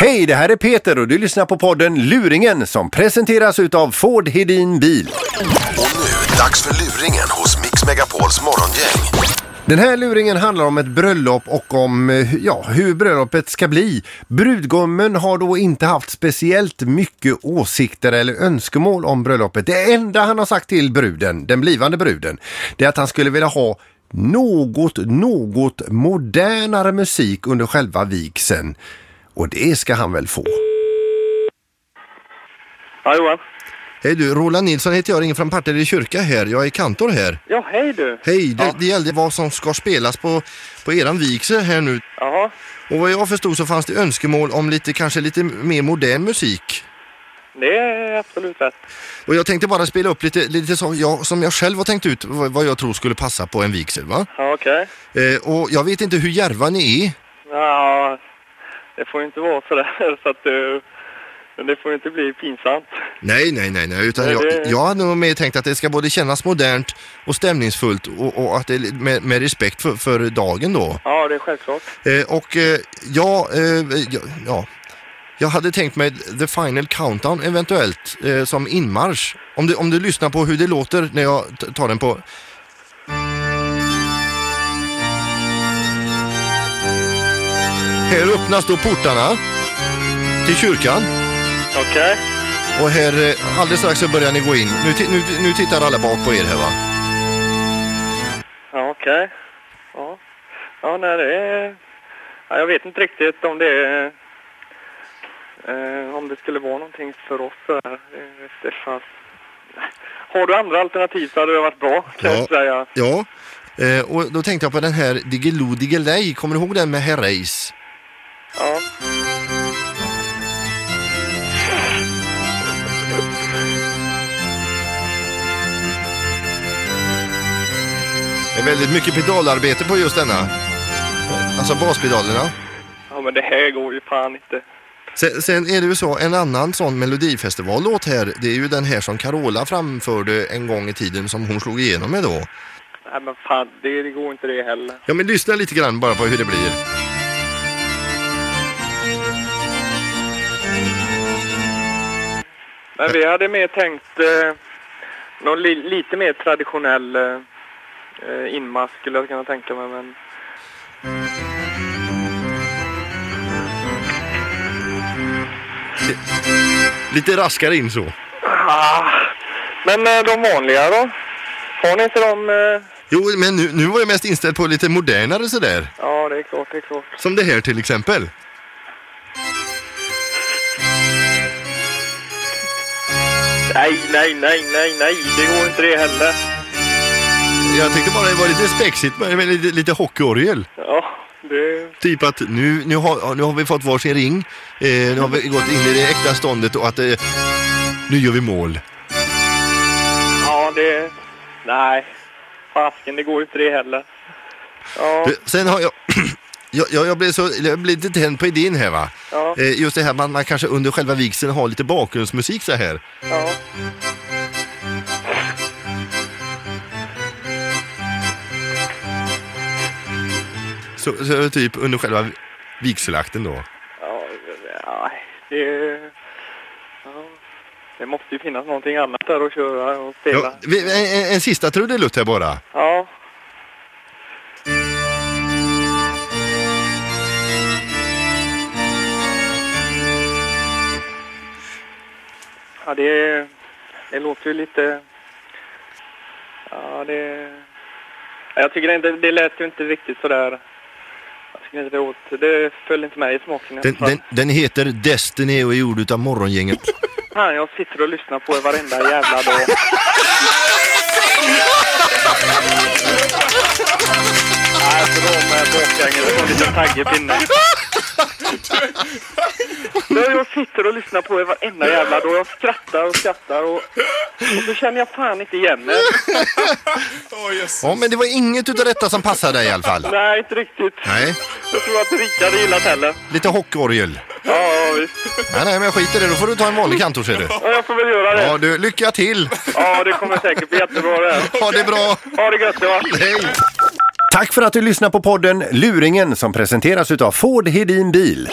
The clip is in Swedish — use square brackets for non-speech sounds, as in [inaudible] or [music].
Hej, det här är Peter och du lyssnar på podden Luringen som presenteras utav Ford Hedin Bil. Och nu, dags för luringen hos Mix Megapols morgongäng. Den här luringen handlar om ett bröllop och om eh, ja, hur bröllopet ska bli. Brudgummen har då inte haft speciellt mycket åsikter eller önskemål om bröllopet. Det enda han har sagt till bruden, den blivande bruden, det är att han skulle vilja ha något, något modernare musik under själva vigseln. Och det ska han väl få. Ja, Johan. Hej du, Roland Nilsson heter jag, ringer från Partille kyrka här. Jag är kantor här. Ja, hej du. Hej, det, det gällde vad som ska spelas på, på eran vigsel här nu. Jaha. Och vad jag förstod så fanns det önskemål om lite, kanske lite mer modern musik. Det är absolut rätt. Och jag tänkte bara spela upp lite, lite så, jag, som jag själv har tänkt ut vad, vad jag tror skulle passa på en vigsel va? Ja, okej. Eh, och jag vet inte hur järva ni är. Ja, det får ju inte vara sådär [laughs] så att du... Det får ju inte bli pinsamt. Nej, nej, nej, nej, utan Nej, jag, det- jag hade nog mer tänkt att det ska både kännas modernt och stämningsfullt och, och att det är med, med respekt för, för dagen då. Ja, det är självklart. Eh, och eh, ja, eh, ja, ja, jag hade tänkt mig The Final Countdown eventuellt eh, som inmarsch. Om du, om du lyssnar på hur det låter när jag t- tar den på... Här öppnas då portarna till kyrkan Okej. och här eh, alldeles strax så börjar ni gå in. Nu, ti- nu, nu tittar alla bak på er här va? Ja, okej. Ja. Ja, nej, det är... Ja, jag vet inte riktigt om det är... Eh, om det skulle vara någonting för oss så här. Eh, Det fanns... Har du andra alternativ så hade det varit bra, kan Ja. jag säga. Ja, eh, och då tänkte jag på den här Diggiloo Diggiley, kommer du ihåg den med Herreys? Ja. Det är väldigt mycket pedalarbete på just denna. Alltså baspedalerna. ja, men det här går ju fan inte. Sen, sen är det ju så, en annan sån melodifestivallåt här, det är ju den här som Carola framförde en gång i tiden som hon slog igenom med då. Nej, men fan, det, det går inte det heller. Ja men lyssna lite grann bara på hur det blir. Men vi hade mer tänkt eh, någon li lite mer traditionell eh, eh, inmarsch skulle jag kunna tänka mig. Men... Lite raskare in så. Ah. men eh, de vanliga då? Har ni inte dem? Eh... Jo men nu, nu var jag mest inställd på lite modernare sådär. Ja, det är klart, det är klart. Som det här till exempel. Nej, nej, nej, nej, nej, det går inte det heller. Jag tyckte bara det var lite spexigt men men lite, lite hockeyorgel. Ja, det... Typ att nu, nu, har, nu har vi fått varsin ring, eh, nu har vi gått in i det äkta ståndet och att eh, nu gör vi mål. Ja, det... Nej. Fasken, det går inte det heller. Ja, Du, Eh, Sen har jag... [clears throat] Jag, jag, jag, blev så, jag blev lite tänd på idén här va. ja, Eh, just det här man, man kanske under själva vigseln har lite bakgrundsmusik så här. ja. Så, så typ under själva vi- vigselakten då. Ja, nej, det... Ja. Det måste ju finnas någonting annat där att köra och Ja, spela. vi- en, en, en sista trudelutt här bara. Ja. Ja, det, det låter ju lite... Ja, det... Ja, Jag tycker inte, det lät ju inte riktigt sådär... Jag tycker inte det åt... Det föll inte med i smaken. i alla Den, fall. den, den heter Destiny och är gjord utav morgongänget. Fan, jag sitter och lyssnar på er varenda jävla dag. Nej, för då med bakgängen. Det var en liten tagg i pinnen. Ja, Jag sitter och lyssnar på er varenda jävla dag. Jag skrattar och skrattar och, och så känner jag fan inte igen mig. Ja men det var inget utav detta som passade dig i alla fall. Nej, inte riktigt. Nej, Jag tror att Rickard gillat heller. lite hockeyorgel. Ja, ja, visst. Nej, nej men jag skiter i det, då får du ta en vanlig kantor ser du. Ja, jag får väl göra Ja det. du, lycka till! Ja, det kommer säkert bli jättebra det här. Ha det bra! Ha det gött, va? Hej! Tack för att du lyssnar på podden Luringen som presenteras utav Ford Hedin Bil.